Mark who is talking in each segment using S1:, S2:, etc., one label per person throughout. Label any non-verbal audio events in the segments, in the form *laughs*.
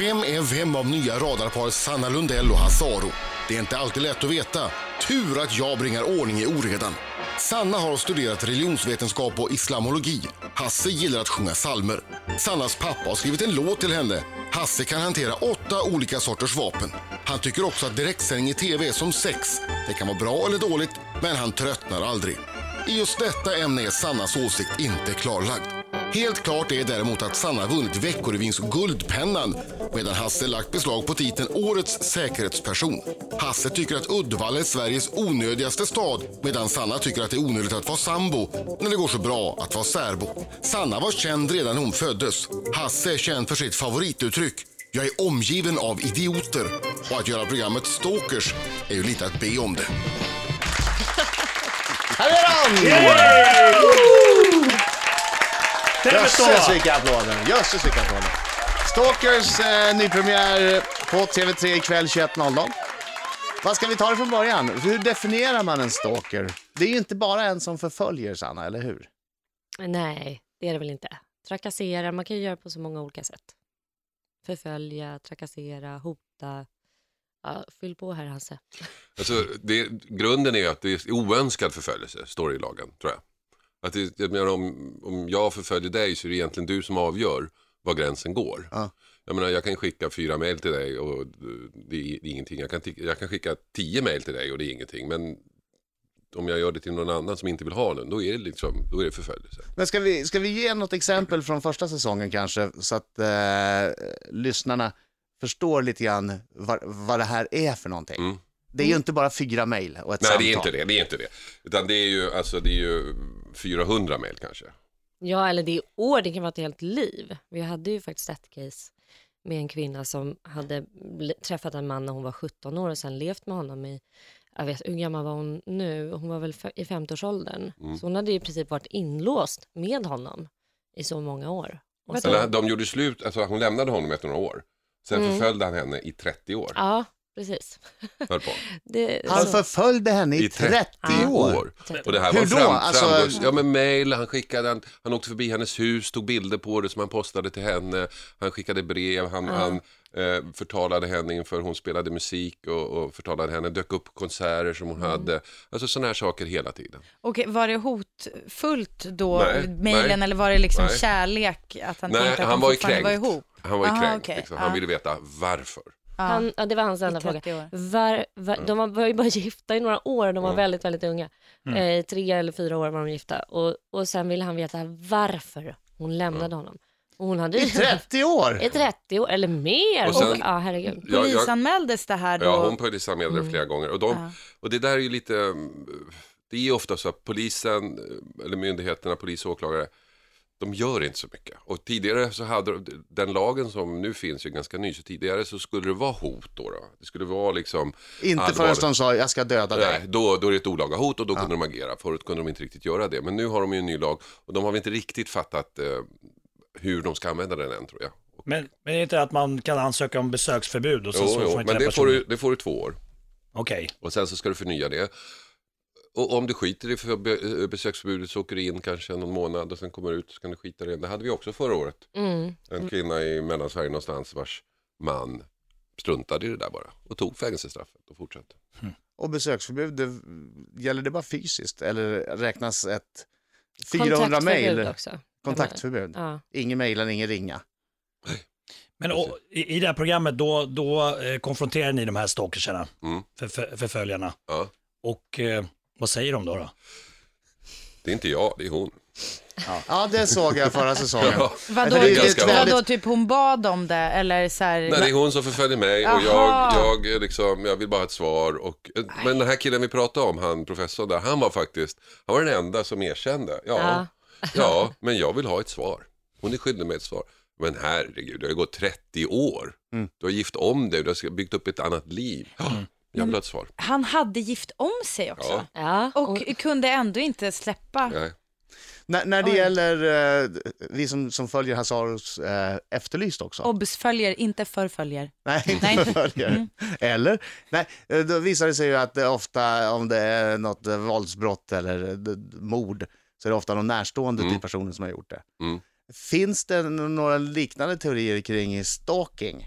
S1: Vem är vem av nya radarpar Sanna Lundell och Hasse Aro? Det är inte alltid lätt att veta. Tur att jag bringar ordning i oredan. Sanna har studerat religionsvetenskap och islamologi. Hasse gillar att sjunga salmer. Sannas pappa har skrivit en låt till henne. Hasse kan hantera åtta olika sorters vapen. Han tycker också att direktsändning i tv är som sex. Det kan vara bra eller dåligt, men han tröttnar aldrig. I just detta ämne är Sannas åsikt inte klarlagd. Helt klart är däremot att Sanna vunnit Veckorevyns Guldpennan medan Hasse lagt beslag på titeln Årets säkerhetsperson. Hasse tycker att Uddevalla är Sveriges onödigaste stad medan Sanna tycker att det är onödigt att vara sambo när det går så bra att vara särbo. Sanna var känd redan när hon föddes. Hasse är känd för sitt favorituttryck “Jag är omgiven av idioter” och att göra programmet Stalkers är ju lite att be om det.
S2: Här är han! Jösses
S3: Tävetoa!
S2: vilka applåder! Jösses vilka applåder! Stalkers eh, nypremiär på TV3 ikväll 21.00. Vad ska vi ta det från början? Hur definierar man en stalker? Det är ju inte bara en som förföljer, Sanna, eller hur?
S4: Nej, det är det väl inte. Trakassera, man kan ju göra på så många olika sätt. Förfölja, trakassera, hota. Ja, fyll på här Hasse.
S5: Alltså, det, grunden är att det är oönskad förföljelse, står det i lagen, tror jag. Att det, jag menar, om, om jag förföljer dig så är det egentligen du som avgör var gränsen går.
S2: Ja.
S5: Jag menar, jag kan skicka fyra mejl till dig och eh, det är, det är ingenting. Jag kan, ti- jag kan skicka tio mejl till dig och det är ingenting. Men om jag gör det till någon annan som inte vill ha den, då är det liksom, då är det förföljelse.
S2: Men ska vi, ska vi ge något exempel från första säsongen kanske, så att eh, lyssnarna förstår lite grann vad, vad det här är för någonting? Det är ju inte bara fyra mejl och ett
S5: Mm. Nej,
S2: samtal.
S5: det är inte det, det är inte det. Utan det är ju, alltså det är ju 400 mejl kanske.
S4: Ja, eller det är år, det kan vara ett helt liv. Vi hade ju faktiskt ett case med en kvinna som hade bl- träffat en man när hon var 17 år och sen levt med honom i, jag vet, hur gammal var hon nu? Hon var väl f- i 50-årsåldern. Så hon hade ju i princip varit inlåst med honom i så många år. Och sen,
S5: Eller de gjorde slut, alltså hon lämnade honom efter några år. Sen
S6: Mm.
S5: förföljde han henne i 30 år.
S4: ja, precis.
S5: Höll på.
S4: Det,
S2: Han
S4: så-
S2: förföljde henne i 30 år.
S5: Och det här
S2: Hur
S5: var
S2: då?
S5: fram,
S2: Alltså-
S5: framgångs- Ja men mail, han skickade, han, han åkte förbi hennes hus, tog bilder på det som han postade till henne. Han skickade brev, han, han eh, förtalade henne inför hon spelade musik och, och förtalade henne, dök upp på konserter som hon
S6: Mm.
S5: hade. Alltså sådana här saker hela tiden.
S6: Okej, var det hotfullt då,
S5: Nej,
S6: mejlen,
S5: nej,
S6: eller var det liksom
S5: nej.
S6: kärlek? Att han
S5: Nej,
S6: tänkte att
S5: han
S6: han
S5: var ju
S6: fortfarande
S5: kränkt.
S6: var ihop?
S5: Han var ju
S6: Aha,
S5: kränkt,
S6: okej.
S5: liksom. han
S6: Ja.
S5: ville veta varför.
S4: Han, ja, det var hans enda
S6: I
S4: fråga.
S6: 30 år.
S4: Var, var, de var, var ju bara *laughs* gifta i några år, de var väldigt, väldigt unga. Eh, tre eller fyra år var de gifta. Och, och sen ville han veta varför hon lämnade honom. Och hon hade
S2: I 30 år!
S4: *laughs* I 30 år, eller mer.
S5: Och sen-
S4: Och- ja, herregud.
S5: Jag- jag-
S6: Polisanmäldes det här då? Mm.
S5: Ja, hon polisanmälde det flera gånger. Och, de,
S6: Ja.
S5: och det där är ju lite, mm, det är ju ofta så att polisen, eh, eller myndigheterna, polis och åklagare, de gör inte så mycket. Och tidigare så hade de- den lagen som nu finns ju ganska ny, så tidigare så skulle det vara hot då. då. Det skulle vara liksom
S2: Inte förrän
S5: allvarligt.
S2: de sa jag ska döda dig.
S5: Nej, då, då är det ett olaga hot och då kunde de agera. Förut kunde de inte riktigt göra det. Men nu har de ju en ny lag och de har väl inte riktigt fattat eh, hur de ska använda den än tror jag. Och,
S3: Men, men det är inte att man kan ansöka om besöksförbud och så,
S5: jo,
S3: så får
S5: jo,
S3: man inte
S5: men
S3: träffa
S5: det får,
S3: personer.
S5: du, det får du två år.
S3: Okej.
S5: Och sen så ska du förnya det. Och om du skiter i för be- eh, besöksförbudet så åker du in kanske någon månad och sen kommer du ut så kan du skita i det igen. Det hade vi också förra året.
S4: Mm.
S5: En kvinna i Mellansverige någonstans vars man struntade i det där bara och tog fängelsestraffet och fortsatte.
S2: Och besöksförbud, det, gäller det bara fysiskt eller räknas ett 400
S4: Kontaktförbud
S2: mejl?
S4: också.
S2: Kontaktförbud.
S4: Ja.
S2: Ingen mejla, ingen ringa.
S3: Men och, i, i det här programmet då, då eh, konfronterar ni de här stalkersarna,
S5: Mm.
S3: för, för, förföljarna.
S5: Ja,
S3: Och eh, vad säger de då? då?
S5: det är inte jag, det är hon.
S2: Ja, det såg jag
S5: *laughs*
S2: förra säsongen.
S5: Ja.
S6: Vadå,
S5: Det är ganska
S6: vadå,
S2: vanligt.
S6: typ hon bad om det eller så här,
S5: Nej, det är hon som förföljer mig och jag,
S6: Aha.
S5: jag, är liksom, jag vill bara ha ett svar. Och, men den här killen vi pratade om, han professorn där, han var faktiskt, han var den enda som erkände. Ja, *laughs* ja men jag vill ha ett svar. Hon är skyldig mig ett svar. Men herregud, det har ju gått 30 år. Du har gift om dig, du har byggt upp ett annat liv. Ja, Jag vill ha ett svar.
S6: han hade gift om sig också.
S4: Ja.
S6: Och, kunde ändå inte släppa.
S5: Nej.
S2: När, när det
S6: Oj.
S2: gäller eh, vi som, som följer Hasaros eh, Efterlyst också.
S6: Obs, följer, inte förföljer.
S2: Nej, inte
S6: Nej.
S2: följer. Eller? Nej, eh, då visar det sig ju att det ofta, om det är något eh, våldsbrott eller eh, d- mord, så är det ofta någon närstående till personen som har gjort det.
S5: Mm.
S2: Finns det n- några liknande teorier kring stalking?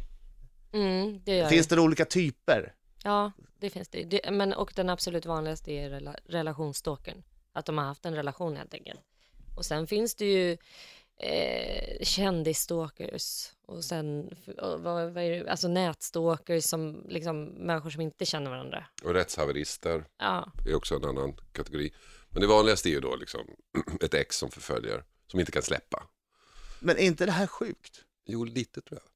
S4: Mm, det gör
S2: Finns
S4: det.
S2: det olika typer?
S4: Ja, det finns det. det men, och den absolut vanligaste är rela, relationsstalkern. Att de har haft en relation helt enkelt. Och sen finns det ju eh, kändisstalkers och sen och vad, vad är det? Alltså nätstalkers som liksom människor som inte känner varandra.
S5: Och rättshaverister
S4: Ja,
S5: är också en annan kategori. Men det vanligaste är ju då liksom *clears throat* ett ex som förföljer, som inte kan släppa.
S2: Men är inte det här sjukt?
S5: Jo, lite tror jag.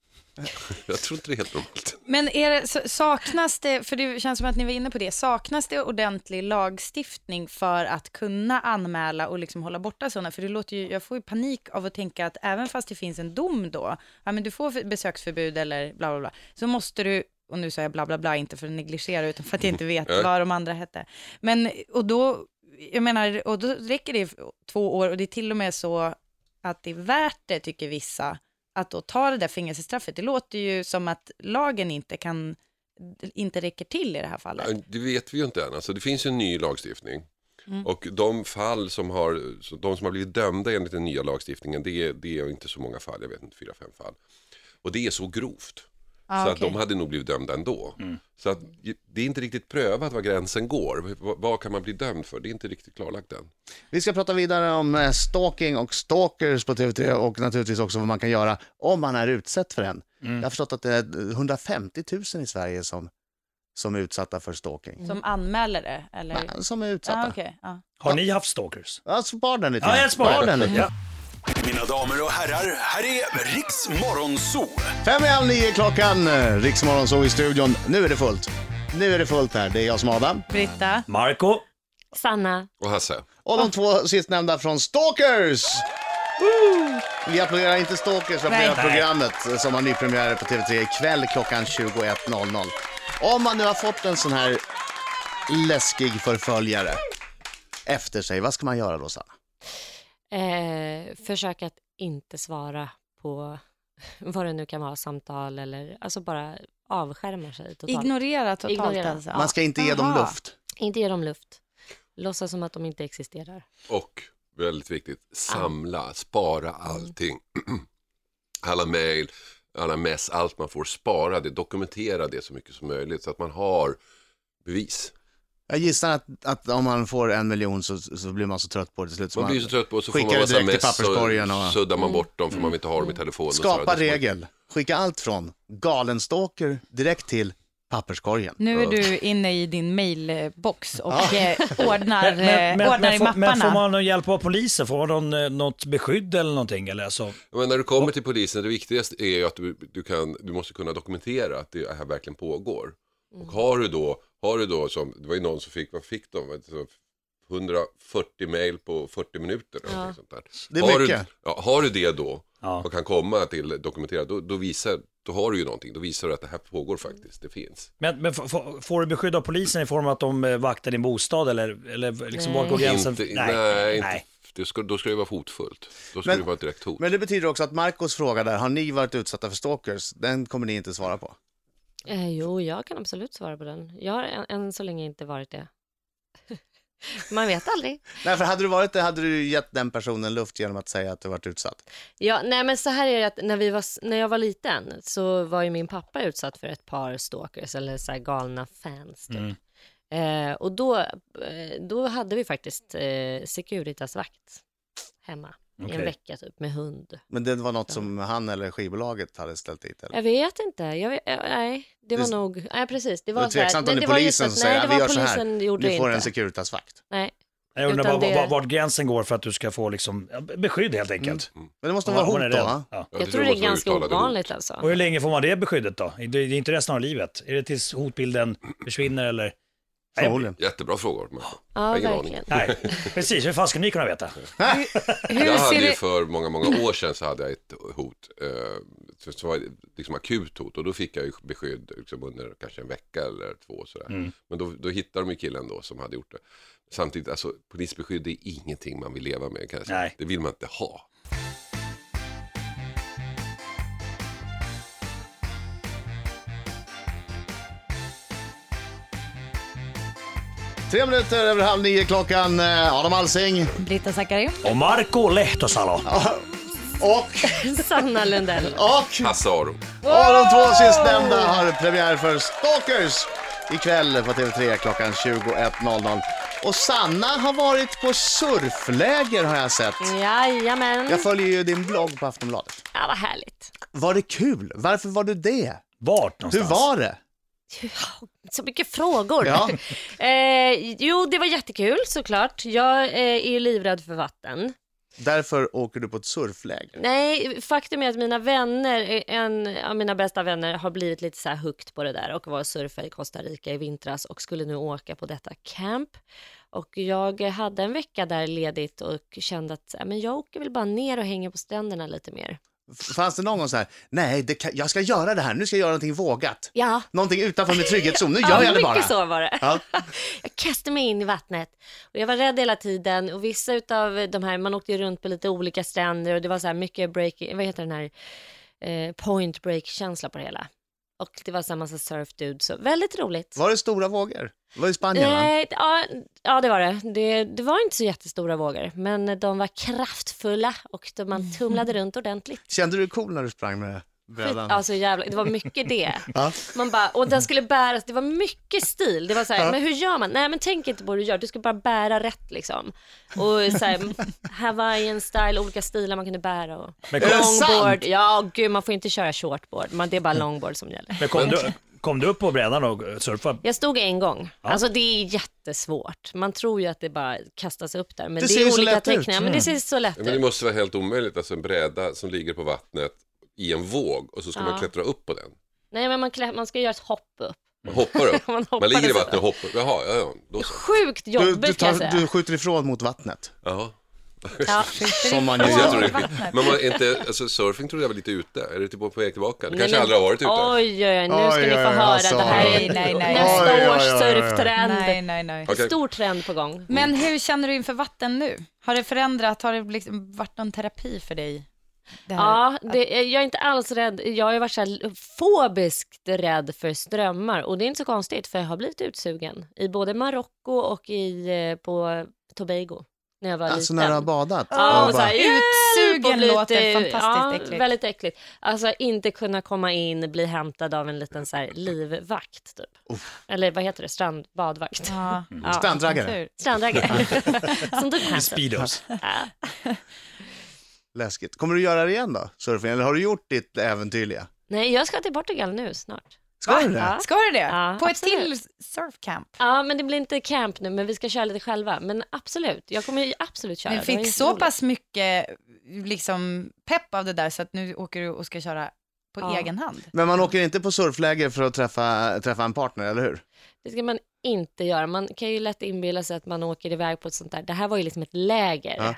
S5: Jag tror inte det är helt normalt.
S6: Men är det, s- saknas det, för det känns som att ni var inne på det, saknas det ordentlig lagstiftning för att kunna anmäla och liksom hålla borta sådana? För det låter ju, jag får ju panik av att tänka att även fast det finns en dom då, ja men du får för- besöksförbud eller bla bla bla, så måste du, och nu sa jag bla bla bla, inte för att negligera utan för att jag inte vet
S5: Ja.
S6: vad de andra hette. Men, och då, jag menar, och då räcker det två år och det är till och med så att det är värt det tycker vissa att då ta det där fängelsestraffet. Det låter ju som att lagen inte kan inte räcker till i det här fallet.
S5: Det vet vi ju inte än. Alltså, det finns ju en ny lagstiftning.
S6: Mm.
S5: Och de fall som har, så de som har blivit dömda enligt den nya lagstiftningen, det är, det är inte så många fall, jag vet inte, fyra, fem fall. Och det är så grovt.
S6: Ah,
S5: så
S6: okej.
S5: att de hade nog blivit dömda ändå. Så att det är inte riktigt prövat var gränsen går. V- vad kan man bli dömd för? Det är inte riktigt klarlagt än.
S2: Vi ska prata vidare om eh, stalking och stalkers på TV3 och naturligtvis också vad man kan göra om man är utsatt för en. Jag har förstått att det är 150 000 i Sverige som, som är utsatta för stalking.
S6: Som anmäler det eller?
S2: Nej, Som är
S6: ah,
S2: utsatta.
S6: okej, ja.
S3: Har ni haft stalkers?
S2: Ja, spar den lite.
S3: Ja,
S2: grann.
S3: jag sparar
S2: Spar den lite.
S3: Ja.
S7: Mina damer och herrar, här är Riks Morgonzoo.
S2: Fem i halv nio är klockan, eh, Riksmorgon så i studion. Nu är det fullt. Nu är det fullt här. Det är jag som är Adam.
S4: Mm.
S6: Britta,
S3: Marco,
S4: Sanna,
S5: Och Hasse,
S2: Och de två sistnämnda från Stalkers! Vi applåderar inte Stalkers, vi applåderar
S3: Nej.
S2: programmet som har nypremiär på TV3 ikväll klockan 21.00. Om man nu har fått en sån här läskig förföljare efter sig, vad ska man göra då Sanna?
S4: eh, försök att inte svara på *laughs* vad det nu kan vara, samtal eller alltså bara avskärma sig totalt.
S6: ignorera totalt
S4: Ignorera.
S6: alltså.
S2: Man ska inte ge dem
S6: Aha.
S2: luft.
S4: inte ge dem luft. Låtsas som att de inte existerar.
S5: och väldigt viktigt, samla, spara
S2: Mm.
S5: allting. *clears throat* Alla mejl, alla mess, allt man får, spara det, dokumentera det så mycket som möjligt så att man har bevis.
S2: Jag gissar att, att om man får en miljon så, så blir man så trött på det till slut.
S5: Man blir ju så trött på och så får
S2: skickar
S5: man
S2: det
S5: massa
S2: direkt till
S5: mess
S2: papperskorgen och- Mm.
S5: och suddar man bort dem för man vill inte ha dem i telefonen. och så
S2: Skapa
S5: här. Det är så-
S2: regel. Skicka allt från galenstalker direkt till papperskorgen.
S6: Nu är du inne i din mailbox och eh,
S2: *laughs*
S6: ordnar, eh, ordnar i
S3: får, men får
S6: mapparna.
S3: man någon hjälp av polisen? Får man någon, eh, något beskydd eller någonting? Eller alltså,
S5: Ja, Men när du kommer till polisen, det viktigaste är ju att du, du, kan, du måste kunna dokumentera att det här verkligen pågår.
S2: Mm.
S5: Och har du då, har du då som, det var ju någon som fick, vad fick de? Alltså, 140 mejl på 40 minuter. eller någonting sånt där.
S2: Det är
S5: har, du,
S2: mycket.
S5: ja, har du det då
S3: Ja.
S5: och kan komma till dokumentera, då, då, visar, då har du ju någonting. Då visar du att det här pågår faktiskt, det finns.
S3: men men f- f- får du beskydd av polisen i form av att de eh, vaktar din bostad eller, eller liksom
S4: Nej.
S3: var går gränsen?
S5: Inte, nej, Inte, det ska, då ska det vara hotfullt. Då ska
S2: Men-
S5: det vara ett direkt hot.
S2: Men det betyder också att Marcos fråga där, har ni varit utsatta för stalkers? Den kommer ni inte svara på.
S4: Eh, jo, jag kan absolut svara på den. Jag har än, än så länge inte varit
S2: *laughs*
S4: det. Man vet aldrig.
S2: Nej, för hade du varit det hade du gett den personen luft genom att säga att du varit utsatt.
S4: Ja, nej, men så här är det att när, vi var, s- när jag var liten så var ju min pappa utsatt för ett par stalkers eller så här galna fans. Typ.
S2: Mm.
S4: Eh, och då, eh, då hade vi faktiskt eh, Securitas-vakt hemma i en
S3: Okej.
S4: vecka typ med hund.
S2: Men det var något som han eller skivbolaget hade ställt dit. Eller?
S4: Jag vet inte. Jag vet, eh, nej, det var
S2: Det-
S4: nog... Nej, precis. Det
S2: Det
S4: var,
S2: var
S4: så här-
S2: tveksamt
S4: nej,
S2: om det
S4: det
S2: är
S4: var just
S2: polisen
S4: att-
S2: som säger,
S4: nej,
S2: vi
S4: det
S2: gör
S4: var
S2: så här,
S4: polisen gjorde
S2: du får
S4: inte.
S2: en Securitasvakt.
S4: Nej.
S3: Jag undrar bara
S4: Utan det-
S3: var, vart gränsen går för att du ska få liksom, ja, beskydd helt enkelt.
S2: Men det måste
S3: Om
S2: Mm. vara
S3: man- om man
S2: hot då,
S3: rädd.
S2: va?
S3: Ja.
S5: Ja,
S4: Jag, tror det är
S5: måste vara
S4: ganska
S5: uttalade hot.
S4: ovanligt alltså.
S3: Och hur länge får man det beskyddet då? Det det är inte resten av livet. Är det tills hotbilden försvinner eller?
S2: Förmodligen.
S5: Jättebra frågor. Marco. Jag
S4: Ja,
S5: har ingen aning.
S4: verkligen.
S2: *laughs*
S3: Nej, precis. Hur fan ska ni kunna veta?
S6: Hur
S5: jag
S6: ser
S5: hade ju
S6: det...
S5: för många, många år sedan så hade jag ett hot, eh, som var det liksom akut hot och då fick jag ju beskydd liksom under kanske en vecka eller två sådär. Men då, då hittade de ju killen då som hade gjort det. Samtidigt, alltså polisbeskydd det är ingenting man vill leva med kan jag säga.
S3: Nej.
S5: Det vill man inte ha.
S2: Tre minuter över halv nio klockan, eh, Adam eh, Alsing.
S6: Britta Zackari.
S3: Och Marco Lehtosalo.
S2: Och,
S4: Sanna Lundell.
S2: och,
S5: Hasse Aro.
S2: och de två sistnämnda har premiär för Stalkers ikväll på TV3 klockan 21.00. Och Sanna har varit på surfläger har jag sett.
S4: *laughs* Jajamän.
S2: Jag följer ju din blogg på Aftonbladet.
S4: Ja, vad härligt.
S2: Var det kul? Varför var du det?
S3: Vart
S2: Hur
S3: någonstans?
S2: var det?
S4: Så mycket frågor.
S2: Ja.
S4: *laughs* Eh, jo, det var jättekul såklart. Jag eh, är ju livrädd för vatten.
S2: Därför åker du på ett surfläger.
S4: Nej, faktum är att mina vänner, eh, en av mina bästa vänner har blivit lite så här hooked på det där och var och surfade i Costa Rica i vintras och skulle nu åka på detta camp. Och jag hade en vecka där ledigt och kände att äh, men jag åker väl bara ner och hänger på stränderna lite mer.
S2: F- Fanns det någon gång så här, nej, det kan, jag ska göra det här, nu ska jag göra någonting vågat.
S4: Ja,
S2: Någonting utanför min
S4: *laughs*
S2: trygghetszon, nu gör jag det bara.
S4: mycket så var det.
S2: Ja.
S4: *laughs* Jag kastade mig in i vattnet och jag var rädd hela tiden och vissa utav de här, man åkte ju runt på lite olika stränder och det var så här mycket break, vad heter den här, eh, point break-känsla på det hela. Och det var så här massa surf dudes, så väldigt roligt.
S2: Var det stora vågor? Det var i Spanien va?
S4: Nej, ja, ja, det var det. det. Det var inte så jättestora vågor, men de var kraftfulla och
S2: *laughs*
S4: de, man tumlade runt ordentligt.
S2: Kände du dig cool när du sprang med brädan?
S4: Alltså jävla, det var mycket det.
S2: Ja.
S4: Man bara, och den skulle bäras, det var mycket stil. Det var så här, men hur gör man? Nej men tänk inte på hur du gör, du ska bara bära rätt liksom. Och så här, Hawaiian style, olika stilar man kunde bära och
S3: Men kom,
S4: longboard. Ja gud, man får inte köra shortboard, man, det är bara
S2: Mm.
S4: longboard som gäller.
S3: men kom, du, kom du upp på brädan och surfade?
S4: Jag stod en gång. Alltså det är jättesvårt. Man tror ju att det bara kastas upp där, men
S2: Det
S4: det,
S2: ser ju
S4: är
S2: så
S4: olika
S2: lätt ut. Mm.
S4: teckningar. Men det ser så lätt
S5: Ja, men det
S4: ut.
S5: måste vara helt omöjligt, alltså en bräda som ligger på vattnet i en våg och så ska man
S4: Ja.
S5: klättra upp på den.
S4: Nej men man, klä, man ska göra ett hopp upp. *laughs*
S5: Man hoppar upp.
S4: Man
S5: man,
S4: hoppar
S5: ligger i
S4: så.
S5: vattnet och hoppar. Jaha, ja, ja, då så.
S4: Sjukt
S2: du,
S4: jobbigt
S2: du,
S4: kan jag säga.
S2: tar, du skjuter ifrån mot vattnet.
S5: Jaha.
S4: Ja.
S2: Som man
S5: Alltså, jag
S2: gör.
S5: tror det,
S6: vattnet.
S5: men man är inte, alltså, surfing tror jag var lite ute. Är det typ på väg tillbaka? Du
S4: Nej,
S5: kanske
S4: men-
S5: aldrig har varit ute?
S4: Oj, oj, oj, nu ska
S2: Oj,
S4: ni
S2: oj,
S4: få
S2: oj,
S4: höra.
S2: alltså.
S4: det här är
S6: Nej, nej, nej.
S4: nästa
S2: Oj, oj,
S4: års
S2: oj, oj, oj.
S4: surftrend.
S6: Nej, nej, nej.
S5: Okej.
S4: Stor trend på gång.
S6: Men
S2: Mm.
S6: hur känner du inför vatten nu? Har det förändrat? Har det liksom varit någon terapi för dig? Det här?
S4: Ja, det, jag är inte alls rädd. Jag har ju varit så här fobiskt rädd för strömmar och det är inte så konstigt för jag har blivit utsugen i både Marocko och i, eh, på Tobago när jag var
S2: Alltså
S4: liten.
S2: när du har badat.
S4: Ja, och så här,
S2: bara,
S4: hjälp! Och
S6: Utsugen
S4: blivit,
S6: låter
S4: eh,
S6: fantastiskt
S4: ja,
S6: äckligt.
S4: Väldigt äckligt. Alltså inte kunna komma in, bli hämtad av en liten så här, livvakt typ. Eller vad heter det? Strand, badvakt.
S6: Ja,
S2: *laughs*
S4: Ja.
S2: Stranddraggare.
S6: tur.
S4: Strandägare. *laughs* Som typ tog
S3: I
S4: chansen.
S3: Speedos.
S4: Ja.
S2: Läskigt. Kommer du göra det igen då? Surfing? Eller har du gjort ditt äventyrliga?
S4: Nej, jag ska till Portugal nu snart.
S2: Ska du det?
S4: Ja.
S6: Ska du det?
S4: Ja,
S6: på ett till
S4: absolut.
S6: surfcamp?
S4: Ja, men det blir inte camp nu, men vi ska köra lite själva. Men absolut, jag kommer ju absolut köra.
S6: Du
S4: Det var
S6: fick
S4: ju
S6: så
S4: roligt.
S6: pass mycket liksom, pepp av det där så att nu åker du och ska köra på
S4: Ja.
S6: egen hand.
S2: Men man åker inte på surfläger för att träffa, träffa en partner, eller hur?
S4: Det ska man inte göra. Man kan ju lätt inbilla sig att man åker iväg på ett sånt där. Det här var ju liksom ett läger.
S2: Ja.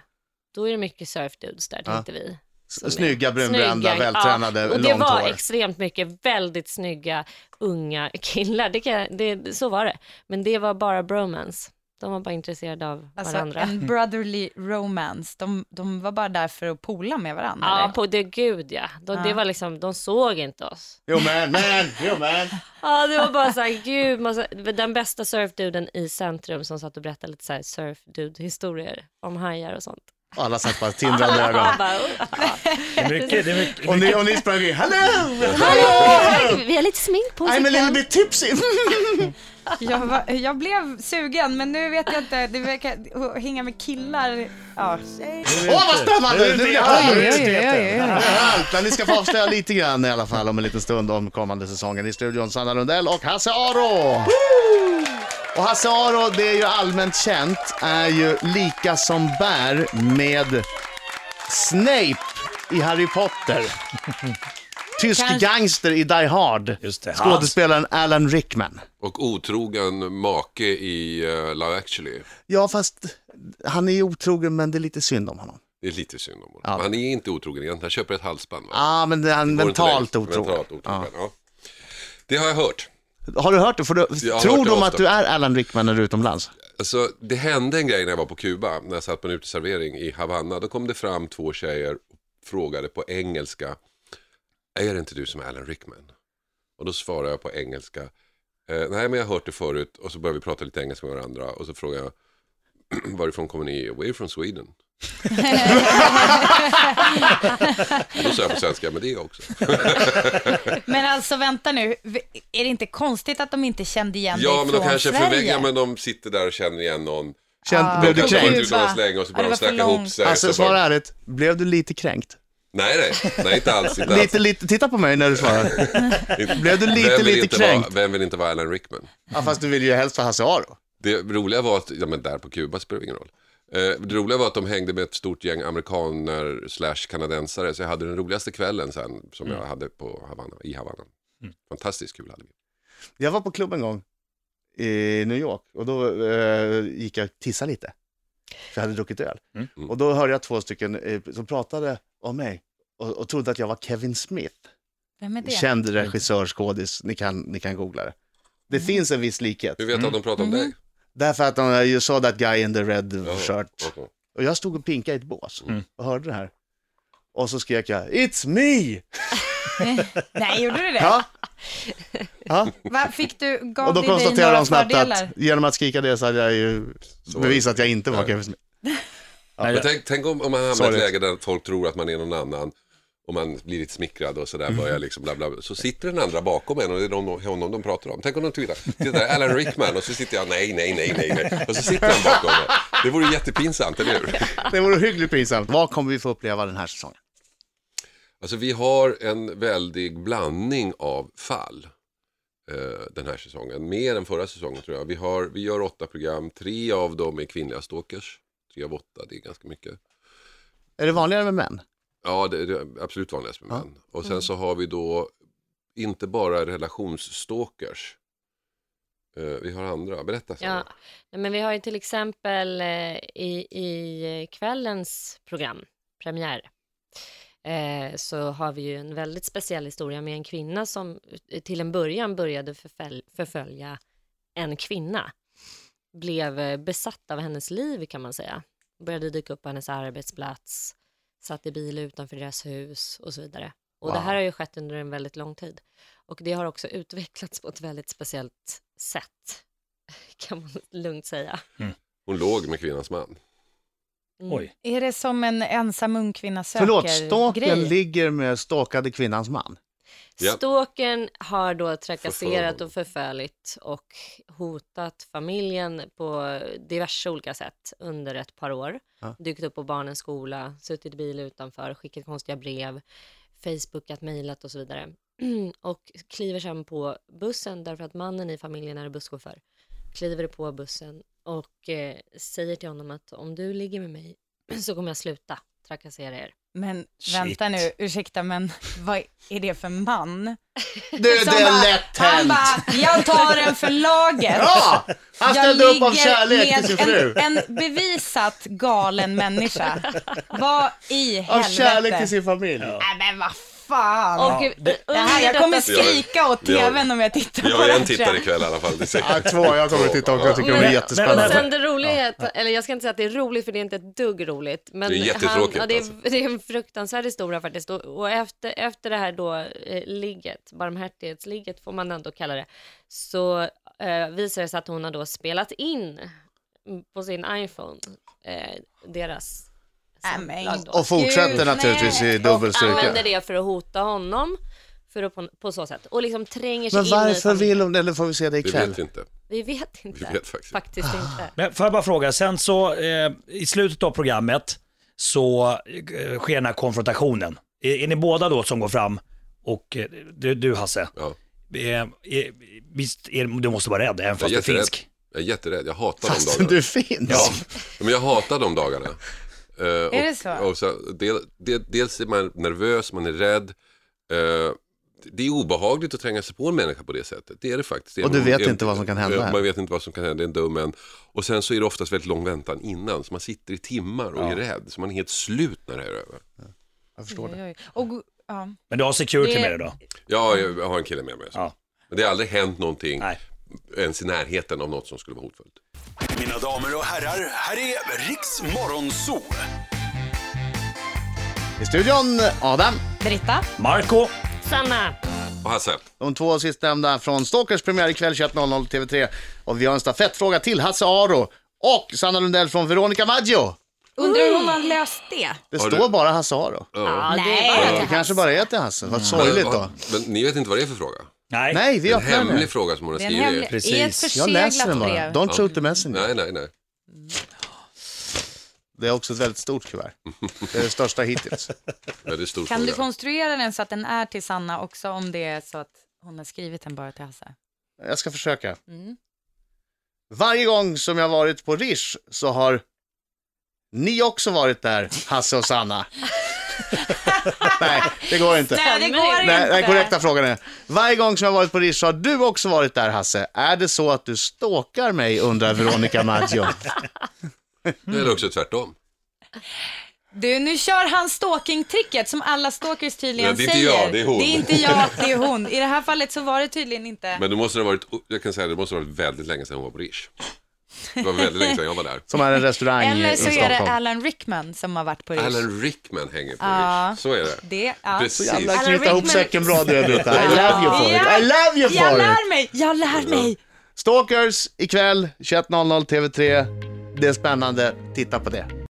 S4: Då är det mycket surfdudes där, tänkte vi. Som är-
S2: snygga, brunbrända,
S4: snygga,
S2: vältränade,
S4: ja. Och det
S2: långt
S4: var
S2: hår.
S4: extremt mycket väldigt snygga unga killar. Det kan, jag- det, så var det. Men det var bara bromance. De var bara intresserade av
S6: Alltså
S4: varandra.
S6: en brotherly romance. De, de var bara där för att pola med varandra.
S4: Ja,
S6: eller?
S4: på det gud ja. De, Det var liksom, de såg inte oss.
S2: Jo men, men, jo men.
S4: Ja, det var bara så *laughs* här, gud, massa, den bästa surfduden i centrum som satt och berättade lite så här surfdude-historier om hajar och sånt.
S2: Och alla satt bara tindrande ögon.
S4: *laughs* Ja, bara, "Oh,
S3: Det är mycket, det är mycket.
S2: Och ni, och ni sprang in, hello!
S4: hallå, vi har lite smink på oss.
S2: I'm a little
S4: ikväll."
S2: bit tipsy. *laughs*
S6: jag, var, jag blev sugen, men nu vet jag inte. Det verkar, att hänga med killar. Ja.
S2: Åh vad spännande! Nu blir det
S3: Oj,
S2: här.
S3: oj, oj,
S2: Men ni ska få avslöja lite grann i alla fall om en liten stund om kommande säsongen. I studion Sanna Lundell och Hasse Aro! Och Hasse Aro, det är ju allmänt känt, är ju lika som bär med Snape i Harry Potter. Tysk gangster i Die Hard.
S3: Just det.
S2: Skådespelaren Alan Rickman.
S5: Och otrogen make i eh, Love actually.
S2: Ja, fast han är ju otrogen men det är lite synd om honom.
S5: Det är lite synd om honom.
S2: Ja.
S5: Han är inte otrogen egentligen. Han köper ett halsband. Va?
S2: Ja, ah, men det är han
S5: Går inte
S2: mentalt
S5: längst.
S2: otrogen.
S5: Mentalt otrogen. Ja. Det har jag hört.
S2: Har du hört det? Får du,
S5: Jag har
S2: tror
S5: hört det
S2: de att
S5: ofta.
S2: du är Alan Rickman när du är utomlands?
S5: Alltså, det hände en grej när jag var på Kuba, när jag satt på en uteservering i Havanna. Då kom det fram två tjejer och frågade på engelska, är det inte du som är Alan Rickman? Och då svarade jag på engelska, eh, nej men jag har hört det förut och så började vi prata lite engelska med varandra och så frågade jag, varifrån kommer ni? We're E? from Sweden. Då sa jag på svenska, men det är jag också.
S6: Men alltså vänta nu, v- är det inte konstigt att de inte kände igen dig
S5: Ja,
S6: från
S5: men de kanske
S6: Sverige?
S5: förväg, ja, men de sitter där och känner igen någon.
S2: Känt,
S6: Ja.
S2: blev du
S5: De kanske har varit
S2: kränkt?
S5: ute någon släng och så
S6: Ja,
S5: börjar
S6: det
S5: de
S6: var för
S5: snacka ihop
S6: långt.
S5: sig.
S2: Alltså
S5: så bara,
S2: svara ärligt, blev du lite kränkt?
S5: Nej, nej, nej, inte alls. Inte alls.
S2: Lite, lite, titta på mig när du
S5: *laughs*
S2: svarar. Blev du lite,
S5: Vem vill
S2: lite
S5: inte vara-
S2: kränkt?
S5: Vem vill inte vara Alan Rickman?
S2: Ja, fast du vill ju helst vara Hasse Aro.
S5: Det roliga var att, ja men där på Kuba spelar det ingen roll. Eh, Det roliga var att de hängde med ett stort gäng amerikaner slash kanadensare. Så jag hade den roligaste kvällen sen som
S2: Mm.
S5: jag hade på Havanna, i Havanna. Fantastiskt kul hade vi.
S2: Jag var på klubb en gång i New York och då eh, gick jag och tissade lite. För jag hade druckit öl.
S5: Mm.
S2: Och då hörde jag två stycken eh, som pratade om mig och, och trodde att jag var Kevin Smith.
S6: Vem är det?
S2: Känd regissör, skådis. Ni kan, ni kan googla det. Det finns en viss likhet.
S5: Hur vet du att de pratar om
S2: Mm.
S5: dig?
S2: Därför att de, you saw that guy in the red shirt.
S5: okej.
S2: Och jag stod och pinkade i ett bås och hörde det här. Och så skrek jag, it's me!
S6: Nej, gjorde du det?
S2: Ja. ja.
S6: Va, fick du, gav
S2: Och då
S6: det dig
S2: konstaterade
S6: några
S2: de snabbt
S6: fördelar?
S2: att genom att skrika det så hade jag ju bevisat att jag inte var Kevin Smith.
S5: Men tänk, tänk om, om man hamnar i
S2: Sorry.
S5: ett läge där folk tror att man är någon annan och man blir lite smickrad och sådär börjar liksom bla bla. bla. Så sitter den andra bakom en och det är de, honom de pratar om. Tänk om de twittrar, titta Alan Rickman och så sitter jag nej, nej, nej, nej, nej. Och så sitter han bakom mig. Det vore jättepinsamt, eller hur?
S2: Det vore hyggligt pinsamt. Vad kommer vi få uppleva den här säsongen?
S5: Alltså vi har en väldig blandning av fall eh, den här säsongen. Mer än förra säsongen tror jag. Vi, har, vi gör åtta program, tre av dem är kvinnliga stalkers. Tre av åtta, det är ganska mycket.
S2: Är det vanligare med män?
S5: Ja, det är det absolut vanligast med män. Och sen så har vi då inte bara relationsstalkers. Eh, vi har andra, berätta.
S4: Ja,
S5: Sandra.
S4: Nej, men vi har ju till exempel eh, i, i kvällens program, premiär, eh, så har vi ju en väldigt speciell historia med en kvinna som eh, till en början började förfölj, förfölja en kvinna. Blev eh, besatt av hennes liv kan man säga. Började dyka upp på hennes arbetsplats, satt i bil utanför deras hus och så vidare. Och det här har ju skett under en väldigt lång tid. Och det har också utvecklats på ett väldigt speciellt sätt *laughs* kan man lugnt säga.
S5: Hon låg med kvinnans man.
S4: Mm.
S3: Oj.
S6: Är det som en ensam ung kvinna söker
S2: Förlåt, staken
S6: grej?
S2: ligger med stakade kvinnans
S6: *laughs*
S2: man.
S5: Ja.
S4: Stalkern har då trakasserat
S5: Förföljt.
S4: och förföljt och hotat familjen på diverse olika sätt under ett par år.
S2: Ja.
S4: Dykt upp på barnens skola, suttit i bil utanför, skickat konstiga brev, facebookat, mejlat och så vidare. *clears throat* och kliver sen på bussen därför att mannen i familjen är busschaufför. Kliver på bussen och eh, säger till honom att om du ligger med mig *clears throat* så kommer jag sluta trakassera er.
S6: Men
S3: Shit.
S6: vänta nu, ursäkta, men vad är det för man?
S2: Du, det
S6: Som
S2: är
S6: bara-
S2: lätt
S6: Han
S2: hänt!
S6: bara, jag tar den för laget.
S2: Ja! Han
S6: Jag
S2: ställde upp av
S6: ligger
S2: kärlek till
S6: med
S2: sin fru.
S6: En, en bevisat galen människa. Vad i helvete?
S2: Av kärlek till sin familj.
S6: Nej Äh, men vad fan.
S4: Och
S6: det här, jag kommer skrika åt
S5: Vi har-
S6: tvn om jag tittar
S5: Vi
S6: på
S5: har
S6: det.
S5: ju en
S6: här.
S5: tittare ikväll i alla fall. Det är säkert.
S2: Ja, två, jag kommer att titta också. Jag tycker de är
S4: Men-
S2: jättespännande.
S4: Men sen det roliga är att, eller jag ska inte säga att det är roligt för det är inte ett dugg roligt. Men
S5: Det är jättetråkigt,
S4: Han, ja, det, är,
S5: alltså.
S4: det är en fruktansvärd historia faktiskt. Och, och efter, efter det här då eh, ligget, barmhärtighetsligget får man ändå kalla det, så eh, visar det sig att hon har då spelat in på sin iPhone eh, deras
S6: Nej,
S4: samlag
S6: men
S4: då.
S2: Och fortsätter
S6: Äh, Gud,
S2: naturligtvis
S6: nej.
S2: i dubbel styrka.
S4: Använder det för att hota honom. För att på, på så sätt. Och liksom tränger sig
S2: Men
S4: in i...
S2: varför
S4: familjen.
S2: vill hon, eller får vi se det
S5: Det
S2: ikväll?
S5: vet vi inte.
S4: Vi vet inte.
S5: Vi vet faktiskt inte.
S4: inte.
S3: Men får jag bara fråga, sen så eh, i slutet av programmet så eh, sker den här konfrontationen. Är, är ni båda då som går fram och eh, du, du Hasse,
S5: Ja.
S3: eh, är, visst är, du måste vara rädd även
S5: Jag är
S3: fast du är
S5: jätterädd.
S3: finsk?
S5: Jag är jätterädd, jag hatar de
S2: Fastän
S5: dagarna.
S2: du finns.
S3: Ja.
S5: Men jag hatar de dagarna. Eh, och,
S6: det så?
S5: Och så del, del, dels är man nervös, man är rädd. Eh, det är obehagligt att tränga sig på en människa på det sättet. Det är det faktiskt. Det är
S2: Och du
S5: en-
S2: vet
S5: en-
S2: inte vad som kan hända
S5: Eh,
S2: här.
S5: Man vet inte vad som kan hända, det är en dum en. Och sen så är det oftast väldigt lång väntan innan, så man sitter i timmar och är rädd. Så man är helt slut när det här är över.
S2: Jag förstår det.
S6: Oj, oj. Och, go- ja.
S3: Men du har security
S6: Det-
S3: med dig då?
S5: Ja, jag har en kille med mig. Så.
S3: Ja.
S5: Men det har aldrig hänt någonting
S3: Nej.
S5: ens i närheten av något som skulle vara hotfullt.
S7: Mina damer och herrar, här är Riks Morgonzoo.
S2: I studion, Adam.
S6: Britta,
S3: Marco,
S4: Sanna!
S5: Och Hasse,
S2: De två sistnämnda från Stalkers premiär ikväll 21.00 TV3. Och vi har en stafettfråga till Hasse Aro och Sanna Lundell från Veronica Maggio.
S6: Undrar hur hon har löst det?
S2: Det
S5: Har
S2: står
S5: du-
S2: bara Hasaro.
S5: Ja.
S2: Det kanske bara är till Hasse. Vad sorgligt då.
S5: Men ni vet inte vad det är för fråga?
S3: Nej.
S2: Nej, vi
S5: En
S2: öppnar den.
S5: hemlig fråga som hon har
S6: Det är en
S5: skrivit.
S6: hemlig,
S3: Precis.
S6: i ett
S2: Jag läser den bara.
S6: förseglat brev.
S2: Don't shoot the messenger.
S5: Nej, nej, nej.
S2: Det är också ett väldigt stort kuvert. Det är det största hittills.
S5: Väldigt stor
S6: Kan
S5: fråga.
S6: du konstruera den så att den är till Sanna också om det är så att hon har skrivit den bara till Hasse?
S2: Jag ska försöka.
S6: Mm.
S2: Varje gång som jag varit på Rish så har ni också varit där, Hasse och
S6: *laughs*
S2: Sanna. Nej, det går inte.
S6: Nej, det går inte.
S2: Nej, den korrekta frågan är, varje gång som jag varit på Rish så har du också varit där Hasse. Är det så att du stalkar mig undrar Veronica Maggio.
S5: Eller också tvärtom.
S6: Du, nu kör han stalking-tricket som alla stalkers tydligen
S5: Ja, det är inte
S6: säger.
S5: jag, det är hon.
S6: Det är inte jag, det är hon. I det här fallet så var det tydligen inte.
S5: Men då måste det ha varit, jag kan säga det måste ha varit väldigt länge sedan hon var på Rish. Det var väldigt länge sedan jag var där.
S2: Som är en restaurang i
S6: Eller
S2: i
S6: så är det
S2: Stockholm.
S6: Alan Rickman som har varit på Rish.
S5: Alan Rickman hänger på
S6: Ja.
S5: Rish. Så är det.
S6: Det, ja.
S5: Precis.
S2: Jävla
S6: Alan
S2: knyta ihop
S6: Rickman.
S2: säcken bra du Britta. I love you for it. I love you
S6: Jag
S2: for it.
S6: lär mig, jag lär mig.
S2: Stalkers ikväll 21.00 TV3. Det är spännande, titta på det.